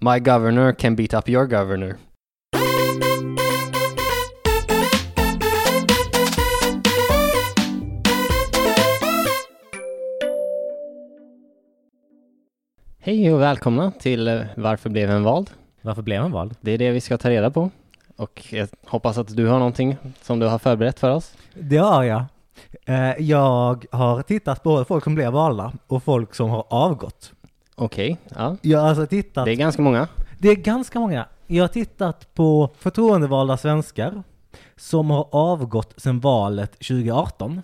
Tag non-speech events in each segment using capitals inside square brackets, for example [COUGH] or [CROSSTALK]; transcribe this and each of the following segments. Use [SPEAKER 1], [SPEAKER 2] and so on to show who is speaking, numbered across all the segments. [SPEAKER 1] My governor can beat up your governor. Hej och välkomna till eh, Varför blev en vald?
[SPEAKER 2] Varför blev han vald?
[SPEAKER 1] Det är det vi ska ta reda på. Och jag hoppas att du har någonting som du har förberett för oss.
[SPEAKER 3] Det har jag. Eh, Jag har tittat på både folk som blev valda och folk som har avgått.
[SPEAKER 1] Okej, ja.
[SPEAKER 3] Jag har alltså tittat,
[SPEAKER 1] Det är ganska många.
[SPEAKER 3] det är ganska många. Jag har tittat på förtroendevalda svenskar som har avgått sedan valet 2018.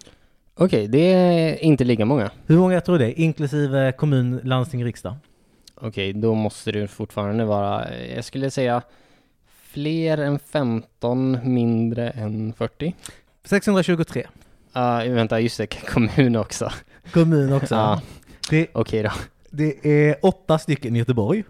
[SPEAKER 1] Okej, det är inte lika många.
[SPEAKER 3] Hur många jag tror det är, inklusive kommun, landsting, riksdag.
[SPEAKER 1] Okej, då måste det fortfarande vara, eh, jag skulle säga fler än 15, mindre än 40.
[SPEAKER 3] 623.
[SPEAKER 1] Ah, vänta, just det, [LAUGHS] kommun också.
[SPEAKER 3] Kommun också.
[SPEAKER 1] Ja.
[SPEAKER 3] Det,
[SPEAKER 1] Okej då.
[SPEAKER 3] det är åtta stycken i Göteborg.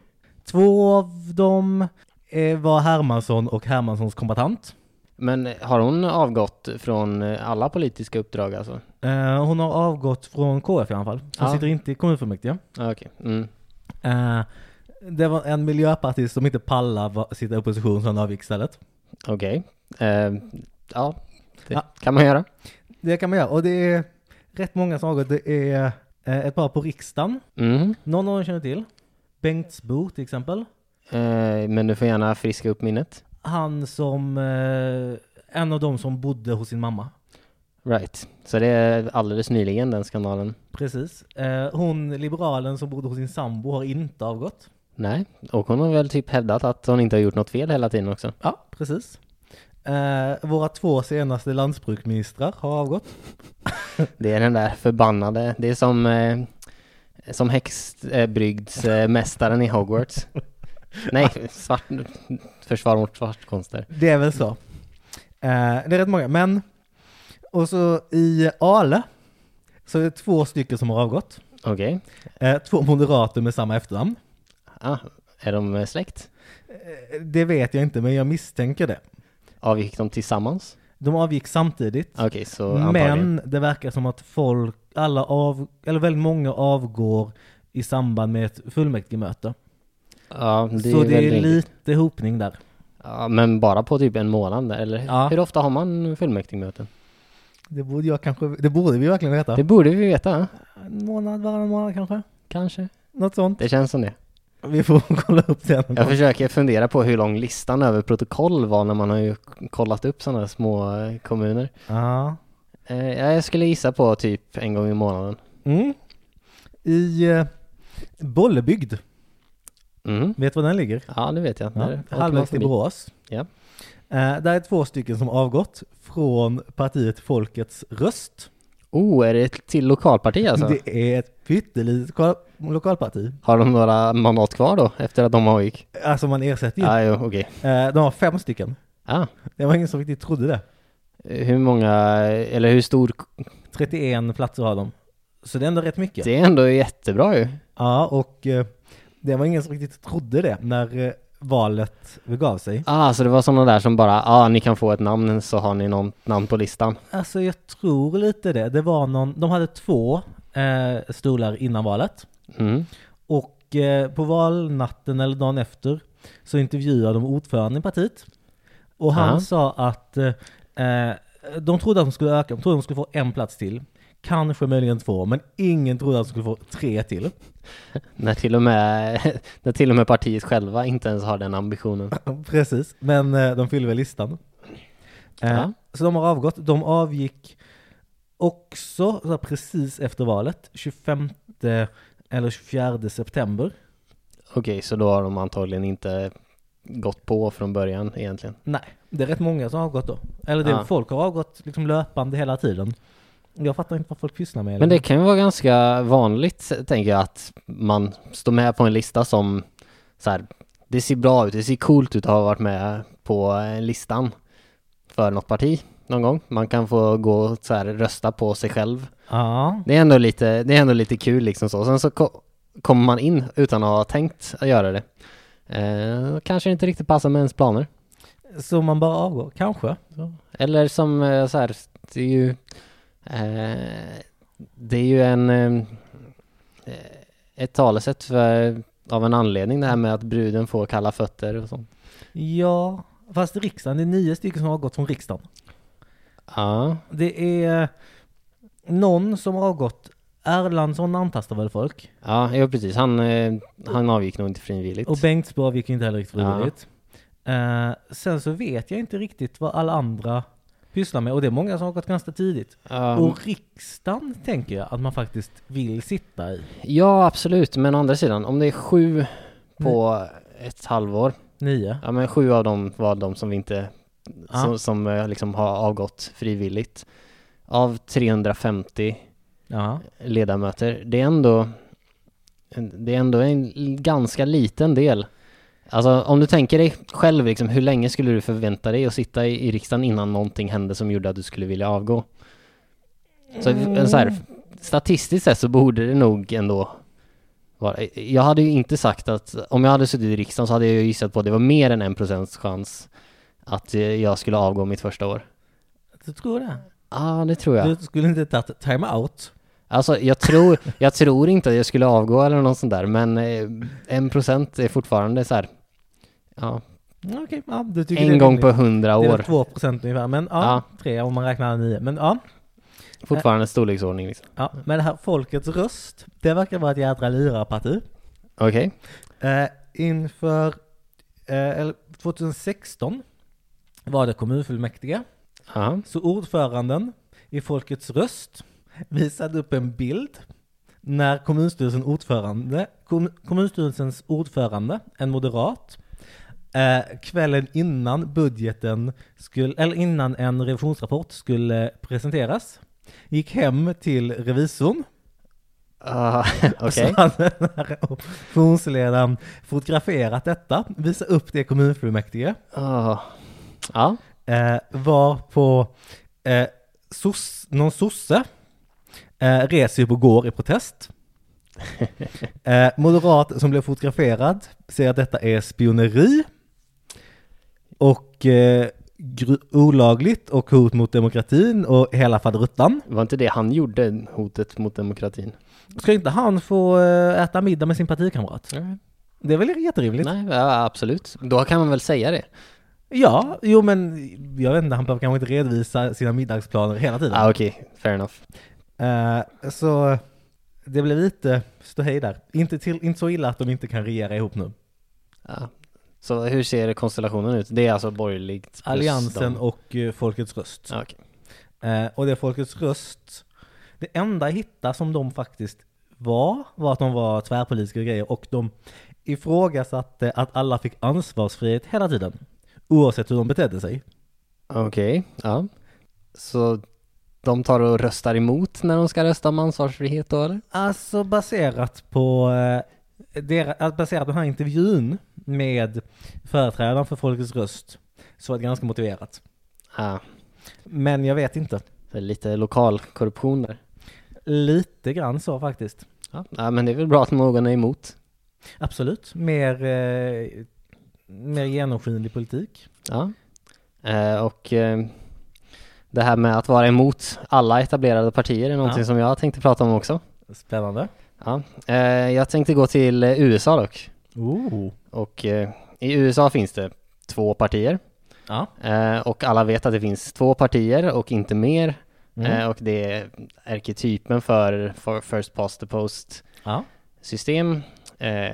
[SPEAKER 3] Två av dem eh, var Hermansson och Hermanssons kombatant.
[SPEAKER 1] Men har hon avgått från eh, alla politiska uppdrag alltså?
[SPEAKER 3] Eh, hon har avgått från KF i alla fall. Hon
[SPEAKER 1] Ja.
[SPEAKER 3] sitter inte i kommunfullmäktige.
[SPEAKER 1] Ah, Okej. Mm.
[SPEAKER 3] Eh, det var en miljöpartist som inte pallar va- sitta i opposition så han avgick istället.
[SPEAKER 1] Okej. Eh, ja, det
[SPEAKER 3] Ja.
[SPEAKER 1] kan man göra.
[SPEAKER 3] Det kan man göra. Och det är rätt många som har avgått. Det är eh, ett par på riksdagen.
[SPEAKER 1] Mm.
[SPEAKER 3] Någon av dem känner till. Bengtsbo till exempel.
[SPEAKER 1] Eh, men du får gärna friska upp minnet.
[SPEAKER 3] Han som, eh, en av dem som bodde hos sin mamma.
[SPEAKER 1] Right. Så det är alldeles nyligen den skandalen.
[SPEAKER 3] Precis. Eh, hon, liberalen som bodde hos sin sambo, har inte avgått.
[SPEAKER 1] Nej, och hon har väl typ hävdat att hon inte har gjort något fel hela tiden också.
[SPEAKER 3] Ja, precis. Eh, våra två senaste landsbruksministrar har avgått.
[SPEAKER 1] Det är den där förbannade, det är som, eh, som häxbrygdsmästaren i Hogwarts. Nej, svart, försvar mot svartkonster.
[SPEAKER 3] Det är väl så. Eh, det är rätt många, men... Och så i Ale så är det två stycken som har avgått.
[SPEAKER 1] Okej,
[SPEAKER 3] Eh, två moderater med samma efternamn.
[SPEAKER 1] ah, är de eh, släkt?
[SPEAKER 3] Eh, Det vet jag inte, men jag misstänker det.
[SPEAKER 1] Avgick de tillsammans?
[SPEAKER 3] De avgick samtidigt,
[SPEAKER 1] Okej, så antagligen.
[SPEAKER 3] men det verkar som att folk, alla av, eller väldigt många avgår i samband med ett fullmäktigemöte.
[SPEAKER 1] Ja, det
[SPEAKER 3] så
[SPEAKER 1] är
[SPEAKER 3] det
[SPEAKER 1] väl
[SPEAKER 3] är
[SPEAKER 1] rimligt.
[SPEAKER 3] lite hopning där.
[SPEAKER 1] Ja, men bara på typ en månad där, eller?
[SPEAKER 3] Ja.
[SPEAKER 1] Hur ofta har man fullmäktigemöten?
[SPEAKER 3] Det borde jag kanske, det borde vi verkligen veta.
[SPEAKER 1] Det borde vi veta,
[SPEAKER 3] En månad, varannan månad kanske?
[SPEAKER 1] kanske.
[SPEAKER 3] Något sånt.
[SPEAKER 1] Det känns som det.
[SPEAKER 3] Vi får kolla upp det. någon
[SPEAKER 1] Jag
[SPEAKER 3] gång.
[SPEAKER 1] försöker fundera på hur lång listan över protokoll var när man har ju kollat upp sådana små eh, kommuner.
[SPEAKER 3] Ja.
[SPEAKER 1] Eh, ja, jag skulle gissa på typ en gång i månaden.
[SPEAKER 3] Mm. I eh, Bollebygd,
[SPEAKER 1] Mm.
[SPEAKER 3] vet du var den ligger?
[SPEAKER 1] Ja, det vet jag. Där åker man
[SPEAKER 3] Halvvägs till
[SPEAKER 1] förbi.
[SPEAKER 3] Borås.
[SPEAKER 1] Ja.
[SPEAKER 3] Eh, där är två stycken som avgått från partiet Folkets Röst.
[SPEAKER 1] Oh, är det till
[SPEAKER 3] [LAUGHS]
[SPEAKER 1] lokalparti alltså?
[SPEAKER 3] Det är ett pyttelitet lokal- lokalparti.
[SPEAKER 1] Har de några mandat kvar då, efter att de avgick?
[SPEAKER 3] Alltså man ersätter ju.
[SPEAKER 1] Ja, jo, okej.
[SPEAKER 3] Eh, de har fem stycken.
[SPEAKER 1] Ah,
[SPEAKER 3] Det var ingen som riktigt trodde det.
[SPEAKER 1] hur många, eller hur stor?
[SPEAKER 3] 31 platser har de. Så det är ändå rätt mycket.
[SPEAKER 1] Det är ändå jättebra ju.
[SPEAKER 3] Ja, och eh, det var ingen som riktigt trodde det när eh, valet begav sig.
[SPEAKER 1] Ah, så det var sådana där som bara, ah, ni kan få ett namn så har ni något namn på listan.
[SPEAKER 3] Alltså jag tror lite det. Det var någon, de hade två eh, stolar innan valet
[SPEAKER 1] Mm.
[SPEAKER 3] och eh, på valnatten eller dagen efter så intervjuade de ordföranden i partiet och han
[SPEAKER 1] Ja.
[SPEAKER 3] sa att eh, eh, de trodde att de skulle öka, de trodde att de skulle få en plats till. Kanske möjligen två, men ingen trodde att de skulle få tre till.
[SPEAKER 1] När till, och med, [LAUGHS] när till och med partiet själva inte ens har den ambitionen.
[SPEAKER 3] Precis, men eh, de fyllde väl listan. Eh,
[SPEAKER 1] Ja.
[SPEAKER 3] Så de har avgått. De avgick också så här, precis efter valet, 25 eller 24 september.
[SPEAKER 1] Okej, så då har de antagligen inte gått på från början egentligen.
[SPEAKER 3] Nej, det är rätt många som har avgått då. Eller det,
[SPEAKER 1] Ja.
[SPEAKER 3] folk har avgått liksom löpande hela tiden. Jag fattar inte vad folk pysslar med. liksom.
[SPEAKER 1] Men det kan ju vara ganska vanligt, tänker jag, att man står med på en lista som så här, det ser bra ut, det ser coolt ut att ha varit med på eh, listan för något parti någon gång. Man kan få gå och så här, rösta på sig själv.
[SPEAKER 3] Ja,
[SPEAKER 1] Det är ändå lite, det är ändå lite kul liksom så. Sen så ko- kommer man in utan att ha tänkt att göra det. Eh, kanske inte riktigt passar med ens planer.
[SPEAKER 3] så man bara avgår, kanske.
[SPEAKER 1] Eller som eh, så här, det är ju, eh, det är ju en, eh, ett talesätt för av en anledning det här med att bruden får kalla fötter och sånt.
[SPEAKER 3] Ja, fast i riksdagen, det är nio stycken som har gått från riksdagen.
[SPEAKER 1] Ja,
[SPEAKER 3] Det är någon som har avgått. Erlandsson antastar väl folk?
[SPEAKER 1] ja, ja precis. Han, eh, han avgick nog inte frivilligt.
[SPEAKER 3] Och Bengtsbo avgick ju inte heller riktigt frivilligt. Eh, sen så vet jag inte riktigt vad alla andra pysslar med. Och det är många som har gått ganska tidigt.
[SPEAKER 1] Ja,
[SPEAKER 3] Och riksdagen tänker jag att man faktiskt vill sitta i.
[SPEAKER 1] ja, absolut. Men å andra sidan, om det är sju på
[SPEAKER 3] Mm.
[SPEAKER 1] ett halvår.
[SPEAKER 3] Nio.
[SPEAKER 1] Ja, men sju av dem var de som vi inte,
[SPEAKER 3] Ja.
[SPEAKER 1] som, som eh, liksom har avgått frivilligt. Av 350
[SPEAKER 3] Ja.
[SPEAKER 1] ledamöter. Det är ändå, det är ändå en ganska liten del. Alltså om du tänker dig själv, liksom, hur länge skulle du förvänta dig att sitta i, i riksdagen innan någonting hände som gjorde att du skulle vilja avgå? Så, en så här, statistiskt sett så borde det nog ändå vara. Jag hade ju inte sagt att, om jag hade suttit i riksdagen så hade jag ju gissat på att det var mer än en procents chans att eh, jag skulle avgå mitt första år.
[SPEAKER 3] Du tror det?
[SPEAKER 1] Ja, ah, det tror jag.
[SPEAKER 3] Du skulle inte tagit time-out?
[SPEAKER 1] Alltså jag tror, jag tror inte att jag skulle avgå eller något sånt där, men eh, en procent är fortfarande så här, ja,
[SPEAKER 3] Mm, Okej, ja, du tycker det
[SPEAKER 1] en
[SPEAKER 3] är
[SPEAKER 1] gång
[SPEAKER 3] rimligt.
[SPEAKER 1] på hundra
[SPEAKER 3] Det är
[SPEAKER 1] år.
[SPEAKER 3] väl 2 procent ungefär, men ja, tre om man räknar nio. Men ja,
[SPEAKER 1] Fortfarande storleksordning liksom.
[SPEAKER 3] ja, men det här Folkets röst, det verkar vara ett jädra lirarparti.
[SPEAKER 1] Okej.
[SPEAKER 3] Eh, inför eh, eller 2016 var det kommunfullmäktige,
[SPEAKER 1] Ja.
[SPEAKER 3] så ordföranden i Folkets röst visade upp en bild när kommunstyrelsen ordförande, kom, kommunstyrelsens ordförande, en moderat, eh, kvällen innan budgeten skulle, eller innan en revisionsrapport skulle presenteras, gick hem till revisorn
[SPEAKER 1] Ah, [LAUGHS] Okej.
[SPEAKER 3] så hade den här optionsledaren fotograferat detta, visat upp det i kommunfullmäktige,
[SPEAKER 1] Ah. Ja.
[SPEAKER 3] eh, var på eh, sos, någon sosse eh, reser upp och går i protest. Eh, moderat som blev fotograferad säger att detta är spioneri och eh, gru- olagligt och hot mot demokratin och hela faderuttan.
[SPEAKER 1] Var inte det han gjorde, hotet mot demokratin?
[SPEAKER 3] Ska inte han få eh, äta middag med sin partikamrat? Det är väl jätterimligt?
[SPEAKER 1] Nej, ja, absolut. Då kan man väl säga det?
[SPEAKER 3] Ja, jo men jag vet inte, han behöver kanske inte redovisa sina middagsplaner hela tiden.
[SPEAKER 1] Ah, Okej, fair enough.
[SPEAKER 3] Eh, så det blev lite ståhej där. Inte, till, inte så illa att de inte kan regera ihop nu.
[SPEAKER 1] Ja. Så hur ser konstellationen ut? Det är alltså borgerligt plus
[SPEAKER 3] Alliansen
[SPEAKER 1] dem.
[SPEAKER 3] och eh, Folkets röst.
[SPEAKER 1] Ja, okej.
[SPEAKER 3] Eh, och det är Folkets röst, det enda jag hittade som de faktiskt var, var att de var tvärpolitiska grejer och de ifrågasatte att alla fick ansvarsfrihet hela tiden. Oavsett hur de betedde sig.
[SPEAKER 1] Okej, ja. Så de tar och röstar emot när de ska rösta om ansvarsfrihet då eller?
[SPEAKER 3] Alltså baserat på eh, dera- alltså, baserat på den här intervjun med företrädaren för Folkets Röst så var det ganska motiverat.
[SPEAKER 1] Ja,
[SPEAKER 3] Men jag vet inte.
[SPEAKER 1] det är lite lokal korruption där.
[SPEAKER 3] Lite grann så faktiskt.
[SPEAKER 1] Ja. ja, men det är väl bra att någon är emot.
[SPEAKER 3] Absolut. Mer, eh, mer genomskinlig politik.
[SPEAKER 1] Ja. Eh, och eh, det här med att vara emot alla etablerade partier är någonting
[SPEAKER 3] Ja.
[SPEAKER 1] som jag tänkte prata om också.
[SPEAKER 3] Spännande.
[SPEAKER 1] Ja. Eh, jag tänkte gå till eh, USA dock.
[SPEAKER 3] Oh.
[SPEAKER 1] Och eh, i USA finns det två partier.
[SPEAKER 3] Ja.
[SPEAKER 1] Eh, och alla vet att det finns två partier och inte mer.
[SPEAKER 3] Mm.
[SPEAKER 1] Eh, och det är arketypen för, för first past the post
[SPEAKER 3] ja.
[SPEAKER 1] system. Eh,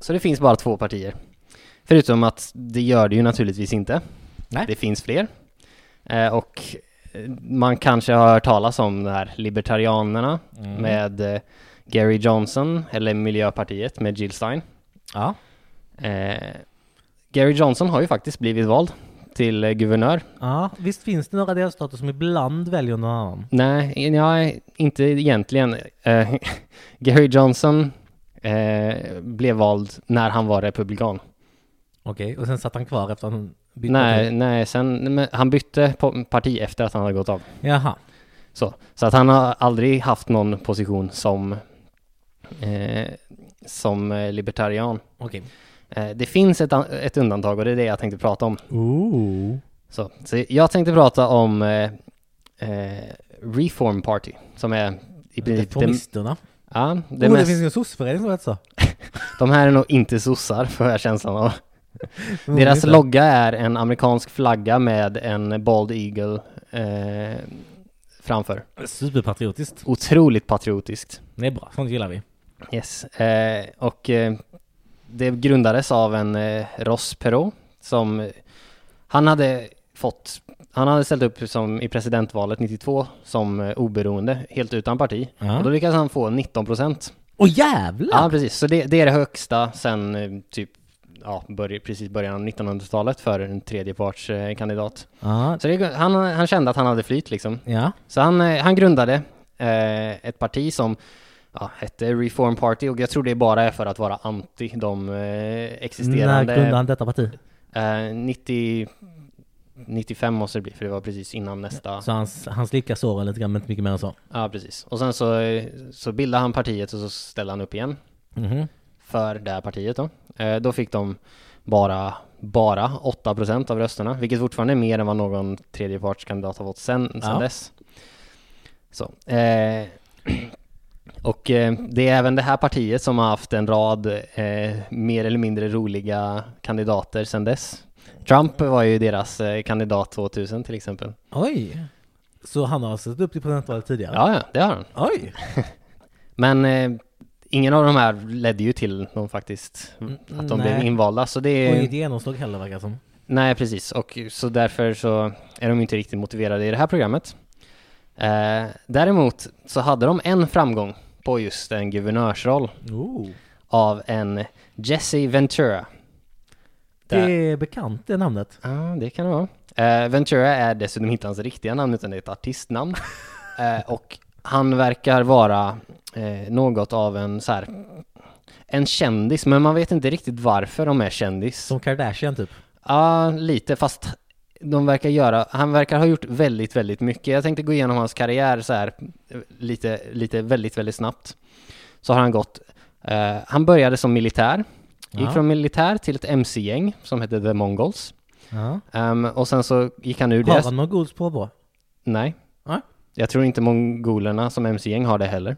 [SPEAKER 1] så det finns bara två partier. Förutom att det gör det ju naturligtvis inte.
[SPEAKER 3] Nej.
[SPEAKER 1] Det finns fler. Eh, och eh, man kanske har hört talas om de här libertarianerna
[SPEAKER 3] Mm.
[SPEAKER 1] med eh, Gary Johnson eller Miljöpartiet med Jill Stein.
[SPEAKER 3] Ja.
[SPEAKER 1] Eh, Gary Johnson har ju faktiskt blivit vald till eh, guvernör
[SPEAKER 3] ja. Visst finns det några delstater som ibland väljer någon annan?
[SPEAKER 1] Nej, nej inte egentligen. Eh, [LAUGHS] Gary Johnson eh, blev vald när han var republikan.
[SPEAKER 3] Okej, och sen satt han kvar efter att han bytte
[SPEAKER 1] Nej, nej, sen, men han bytte po- parti efter att han hade gått av.
[SPEAKER 3] Jaha.
[SPEAKER 1] Så, så att han har aldrig haft någon position som, eh, som eh, libertarian.
[SPEAKER 3] Okej.
[SPEAKER 1] Eh, det finns ett, an- ett undantag och det är det jag tänkte prata om.
[SPEAKER 3] Ooh.
[SPEAKER 1] Så, så jag tänkte prata om eh, eh, Reform Party, som är i princip det,
[SPEAKER 3] Reformisterna.
[SPEAKER 1] ja, det
[SPEAKER 3] Det, oh, det
[SPEAKER 1] mest...
[SPEAKER 3] finns ju en sosseförening som heter så.
[SPEAKER 1] De här är nog inte sossar, får jag känslan av.
[SPEAKER 3] Förmodligen
[SPEAKER 1] Deras
[SPEAKER 3] inte.
[SPEAKER 1] logga är en amerikansk flagga med en Bald Eagle eh, framför.
[SPEAKER 3] Superpatriotiskt.
[SPEAKER 1] Otroligt patriotiskt.
[SPEAKER 3] Det är bra, sånt gillar vi.
[SPEAKER 1] Yes. Eh, och eh, det grundades av en eh, Ross Perot som eh, han hade fått, han hade ställt upp som i presidentvalet 92 som eh, oberoende, helt utan parti.
[SPEAKER 3] Ja.
[SPEAKER 1] Och då lyckades han få 19 procent.
[SPEAKER 3] Åh jävlar!
[SPEAKER 1] Ja, precis. Så det, det är det högsta sen eh, typ, ja, börj- precis början av 1900-talet för en tredjepartskandidat. Eh, kandidat.
[SPEAKER 3] Ja.
[SPEAKER 1] Så det, han, han kände att han hade flyt liksom.
[SPEAKER 3] ja.
[SPEAKER 1] Så han, eh, han grundade eh, ett parti som ja, hette Reform Party och jag tror det bara är för att vara anti de eh,
[SPEAKER 3] När
[SPEAKER 1] existerande.
[SPEAKER 3] grundade han detta parti?
[SPEAKER 1] Eh, 90, 95 måste det bli för det var precis innan nästa.
[SPEAKER 3] Så hans, hans lika sår lite grann, men inte mycket mer än så.
[SPEAKER 1] Ja, precis. Och sen så, eh, så bildade han partiet och så ställde han upp igen.
[SPEAKER 3] Mhm.
[SPEAKER 1] för det här partiet då. Eh, då fick de bara, bara 8% av rösterna, vilket fortfarande är mer än vad någon tredjepartskandidat har fått sen, sen
[SPEAKER 3] Ja.
[SPEAKER 1] dess. Så. Eh, [CLEARS THROAT] och eh, det är även det här partiet som har haft en rad eh, mer eller mindre roliga kandidater sen dess. Trump var ju deras eh, kandidat 2000 till exempel.
[SPEAKER 3] Oj! Så han har sett upp till presidentvalet tidigare?
[SPEAKER 1] Ja, ja, det har han.
[SPEAKER 3] Oj!
[SPEAKER 1] Men eh, ingen av de här ledde ju till någon faktiskt, Mm, att de
[SPEAKER 3] Mm. nej.
[SPEAKER 1] blev invalda. Så det
[SPEAKER 3] Och
[SPEAKER 1] är...
[SPEAKER 3] inget genomslag heller verkar det som.
[SPEAKER 1] Nej, precis. Och så därför så är de inte riktigt motiverade i det här programmet. Eh, däremot så hade de en framgång på just en guvernörsroll
[SPEAKER 3] Oh.
[SPEAKER 1] av en Jesse Ventura.
[SPEAKER 3] Det
[SPEAKER 1] Där-
[SPEAKER 3] är bekant det namnet.
[SPEAKER 1] Ja, det kan det vara. Eh, Ventura är dessutom inte hans riktiga namn utan det är ett artistnamn. Eh, och han verkar vara eh, något av en så här, en kändis, men man vet inte riktigt varför de är kändis.
[SPEAKER 3] Som Kardashian typ.
[SPEAKER 1] Ja, lite, fast de verkar göra, han verkar ha gjort väldigt, väldigt mycket. Jag tänkte gå igenom hans karriär så här eh, lite, lite väldigt, väldigt snabbt. Så har han gått, eh, han började som militär, gick
[SPEAKER 3] Ja.
[SPEAKER 1] från militär till ett mc-gäng som hette The Mongols.
[SPEAKER 3] Ja.
[SPEAKER 1] Ehm, och sen så gick han ur
[SPEAKER 3] Har
[SPEAKER 1] det.
[SPEAKER 3] han något gods påbrå?
[SPEAKER 1] Nej.
[SPEAKER 3] Nej.
[SPEAKER 1] Jag tror inte mongolerna som mc-gäng har det heller.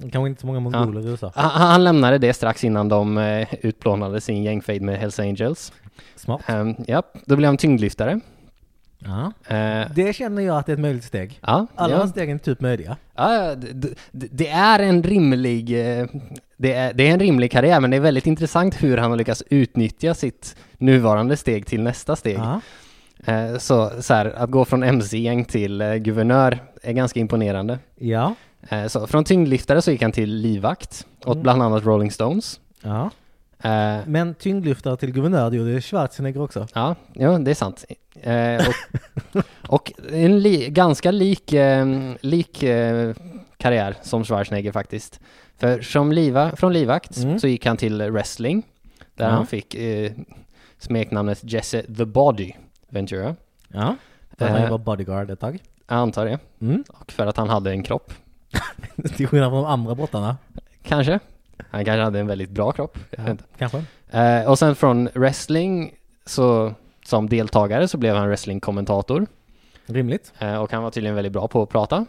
[SPEAKER 3] Kanske inte så många mongoler i USA.
[SPEAKER 1] Han, han lämnade det strax innan de eh, utplånade sin gängfejd med Hells Angels.
[SPEAKER 3] Smart.
[SPEAKER 1] Ehm, ja, då blev han tyngdlyftare.
[SPEAKER 3] Ja.
[SPEAKER 1] Eh,
[SPEAKER 3] Det känner jag att det är ett möjligt steg.
[SPEAKER 1] ja,
[SPEAKER 3] Alla
[SPEAKER 1] ja.
[SPEAKER 3] hans stegen är typ möjliga.
[SPEAKER 1] Ja, ja, d- d- d- det är en rimlig eh, det är, det är en rimlig karriär, men det är väldigt intressant hur han har lyckats utnyttja sitt nuvarande steg till nästa steg.
[SPEAKER 3] Ja.
[SPEAKER 1] Eh, Så, så här, att gå från mc-gäng till eh, guvernör är ganska imponerande.
[SPEAKER 3] Ja.
[SPEAKER 1] Eh, Så, från tyngdlyftare så gick han till livvakt åt bland annat Rolling Stones.
[SPEAKER 3] ja.
[SPEAKER 1] Eh,
[SPEAKER 3] Men tyngdlyftare till guvernör, det gjorde Schwarzenegger också.
[SPEAKER 1] Ja, ja det är sant. Eh, och,
[SPEAKER 3] [LAUGHS]
[SPEAKER 1] och en li, ganska lik, eh, lik eh, karriär som Schwarzenegger faktiskt. För som liva, från livvakt
[SPEAKER 3] Mm.
[SPEAKER 1] så gick han till wrestling, där
[SPEAKER 3] Ja.
[SPEAKER 1] han fick eh, smeknamnet Jesse the Body Ventura.
[SPEAKER 3] Ja. För att
[SPEAKER 1] Eh.
[SPEAKER 3] han jobbar bodyguard ett tag.
[SPEAKER 1] Jag antar det.
[SPEAKER 3] Mm. [LAUGHS]
[SPEAKER 1] Och för att han hade en kropp,
[SPEAKER 3] Till skillnad från de andra brottarna.
[SPEAKER 1] kanske. Han kanske hade en väldigt bra kropp. Jag vet inte.
[SPEAKER 3] Kanske.
[SPEAKER 1] Eh, och sen från wrestling, så, som deltagare, så blev han wrestlingkommentator.
[SPEAKER 3] Rimligt.
[SPEAKER 1] Eh, och han var tydligen väldigt bra på att prata.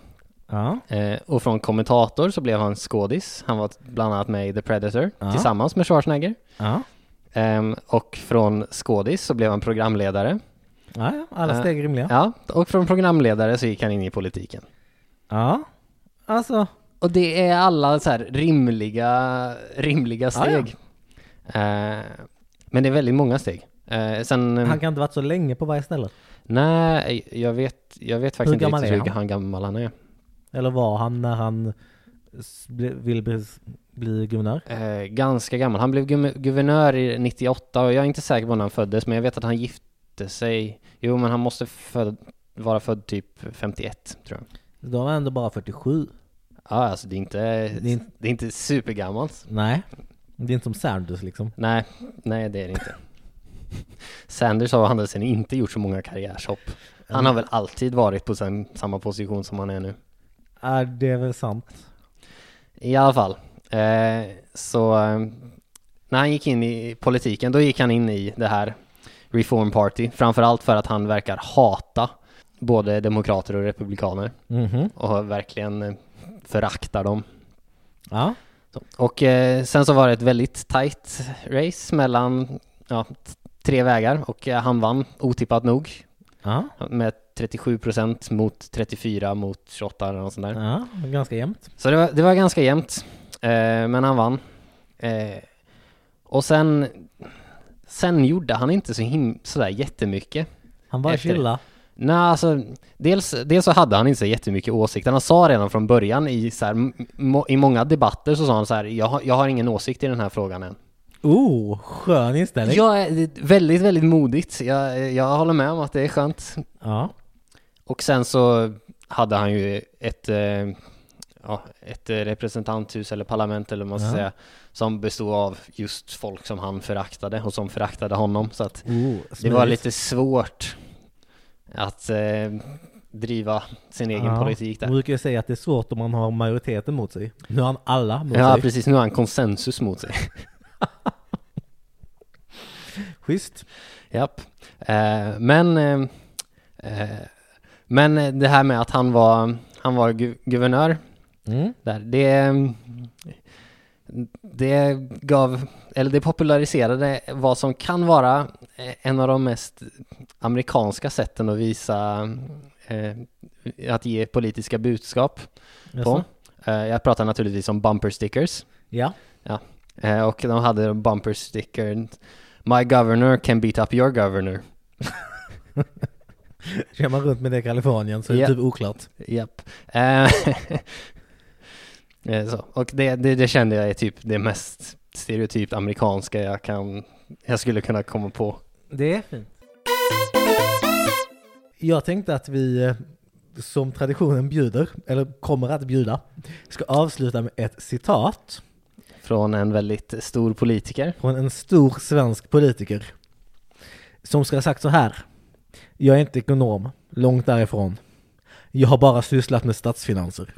[SPEAKER 3] Ja.
[SPEAKER 1] Eh, och från kommentator så blev han skådis. Han var t- bland annat med i The Predator
[SPEAKER 3] Ja.
[SPEAKER 1] tillsammans med Schwarzenegger.
[SPEAKER 3] Ja.
[SPEAKER 1] Ehm, och från skådis så blev han programledare.
[SPEAKER 3] Ja, ja. alla
[SPEAKER 1] Eh.
[SPEAKER 3] steg är rimliga.
[SPEAKER 1] Ja, och från programledare så gick han in i politiken.
[SPEAKER 3] Ja. Alltså,
[SPEAKER 1] Och det är alla så här rimliga, rimliga
[SPEAKER 3] Ja, ja.
[SPEAKER 1] steg. Eh, men det är väldigt många steg. Eh, sen,
[SPEAKER 3] han kan inte varit så länge på varje ställe.
[SPEAKER 1] nej, jag vet, jag vet faktiskt inte
[SPEAKER 3] gammal
[SPEAKER 1] riktigt
[SPEAKER 3] är
[SPEAKER 1] hur
[SPEAKER 3] han?
[SPEAKER 1] han gammal han är.
[SPEAKER 3] Eller var han när han s- ble- ville bli, bli guvernör?
[SPEAKER 1] Eh, ganska gammal. Han blev gu- guvernör i 98 och jag är inte säker på när han föddes men jag vet att han gifte sig. Jo men han måste föd- vara född typ 51 tror jag.
[SPEAKER 3] Då var han ändå bara 47.
[SPEAKER 1] Ja alltså det är inte,
[SPEAKER 3] Det är inte-
[SPEAKER 1] det är inte supergammalt.
[SPEAKER 3] Nej. Det är inte som Sanders liksom.
[SPEAKER 1] Nej, nej det är det inte. Sanders har å andra sidan inte gjort så många karriärshopp. Han har väl alltid varit på sam- samma position som han är nu.
[SPEAKER 3] Ja, det är väl sant.
[SPEAKER 1] I alla fall. Eh, så eh, när han gick in i politiken, då gick han in i det här Reform Party. Framförallt för att han verkar hata både demokrater och republikaner
[SPEAKER 3] Mhm.
[SPEAKER 1] och verkligen eh, föraktar dem.
[SPEAKER 3] Ja.
[SPEAKER 1] Så. Och eh, sen så var det ett väldigt tight race mellan ja, t- tre vägar och eh, han vann otippat nog
[SPEAKER 3] Ja,
[SPEAKER 1] med 37% mot 34 mot 28 eller något sånt där.
[SPEAKER 3] ja ganska jämnt.
[SPEAKER 1] Så det var, det var ganska jämnt, eh, men han vann. Eh, och sen, sen gjorde han inte så him- sådär jättemycket.
[SPEAKER 3] Han bara
[SPEAKER 1] Efter det.
[SPEAKER 3] chilla.
[SPEAKER 1] Nej, alltså, dels, dels så hade han inte så jättemycket åsikter. Han sa redan från början i, så här, m- må, i många debatter så sa han så här, jag, har- jag har ingen åsikt i den här frågan än.
[SPEAKER 3] Oh, skön inställning.
[SPEAKER 1] Ja, det är väldigt, väldigt modigt. Jag, jag håller med om att det är skönt.
[SPEAKER 3] Ja.
[SPEAKER 1] Och sen så hade han ju ett, eh, ja, ett eh, representanthus eller parlament eller vad man ska
[SPEAKER 3] Ja.
[SPEAKER 1] säga, som bestod av just folk som han föraktade och som föraktade honom. Så att
[SPEAKER 3] Oh,
[SPEAKER 1] det var
[SPEAKER 3] smidigt.
[SPEAKER 1] lite svårt att eh, driva sin egen
[SPEAKER 3] Ja.
[SPEAKER 1] politik där.
[SPEAKER 3] Man brukar ju säga att det är svårt om man har majoriteten mot sig. Nu har han alla mot
[SPEAKER 1] Ja,
[SPEAKER 3] sig.
[SPEAKER 1] precis. Nu har han konsensus mot
[SPEAKER 3] [LAUGHS]
[SPEAKER 1] sig.
[SPEAKER 3] Schysst.
[SPEAKER 1] Japp. Eh, men, eh, eh, men det här med att han var, han var gu- guvernör
[SPEAKER 3] Mm.
[SPEAKER 1] där, det, mm, det gav, eller det populariserade vad som kan vara eh, en av de mest amerikanska sätten att visa, eh, att ge politiska budskap på.
[SPEAKER 3] Jaså?
[SPEAKER 1] Eh, jag pratar naturligtvis om bumper stickers.
[SPEAKER 3] Ja.
[SPEAKER 1] Eh, och de hade bumper stickern My governor can beat up your governor.
[SPEAKER 3] Kör man runt med det i Kalifornien så är det
[SPEAKER 1] Ja.
[SPEAKER 3] typ oklart.
[SPEAKER 1] Japp. Eh, [LAUGHS] eh, så. Och det, det, det kände jag är typ det mest stereotypt amerikanska jag kan, jag skulle kunna komma på.
[SPEAKER 3] Det är fint. Jag tänkte att vi, eh, som traditionen bjuder, eller kommer att bjuda, ska avsluta med ett citat
[SPEAKER 1] Från en väldigt stor politiker.
[SPEAKER 3] från en stor svensk politiker. Som ska ha sagt så här. Jag är inte ekonom, långt därifrån. Jag har bara sysslat med statsfinanser.